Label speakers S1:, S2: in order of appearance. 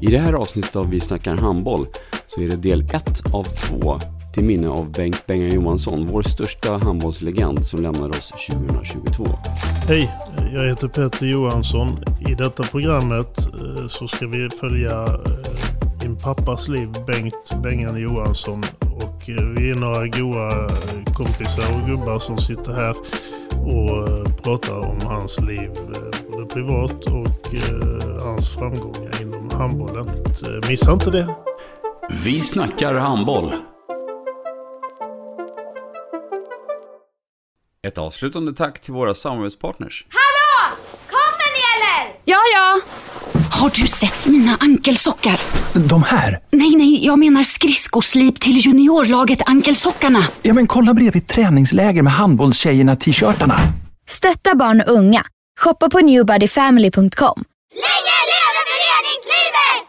S1: I det här avsnittet av Vi snackar handboll så är det del 1 av 2 till minne av Bengt Bengan Johansson, vår största handbollslegend som lämnade oss 2022.
S2: Hej, jag heter Peter Johansson. I detta programmet eh, så ska vi följa eh, din pappas liv, Bengt Bengan Johansson. Och eh, vi är några goa eh, kompisar och gubbar som sitter här och eh, pratar om hans liv eh, både privat och eh, hans framgångar inom handbollen. Eh, Missa inte det!
S1: Vi snackar handboll. Ett avslutande tack till våra samarbetspartners.
S3: Hallå! Kommer ni eller?
S4: Ja, ja. Har du sett mina ankelsockar?
S5: De här?
S4: Nej, nej, jag menar skridskoslip till juniorlaget Ankelsockarna.
S5: Ja, men kolla bredvid träningsläger med handbollstjejerna-t-shirtarna.
S6: Stötta barn och unga. Shoppa på newbodyfamily.com.
S3: Länge leve föreningslivet!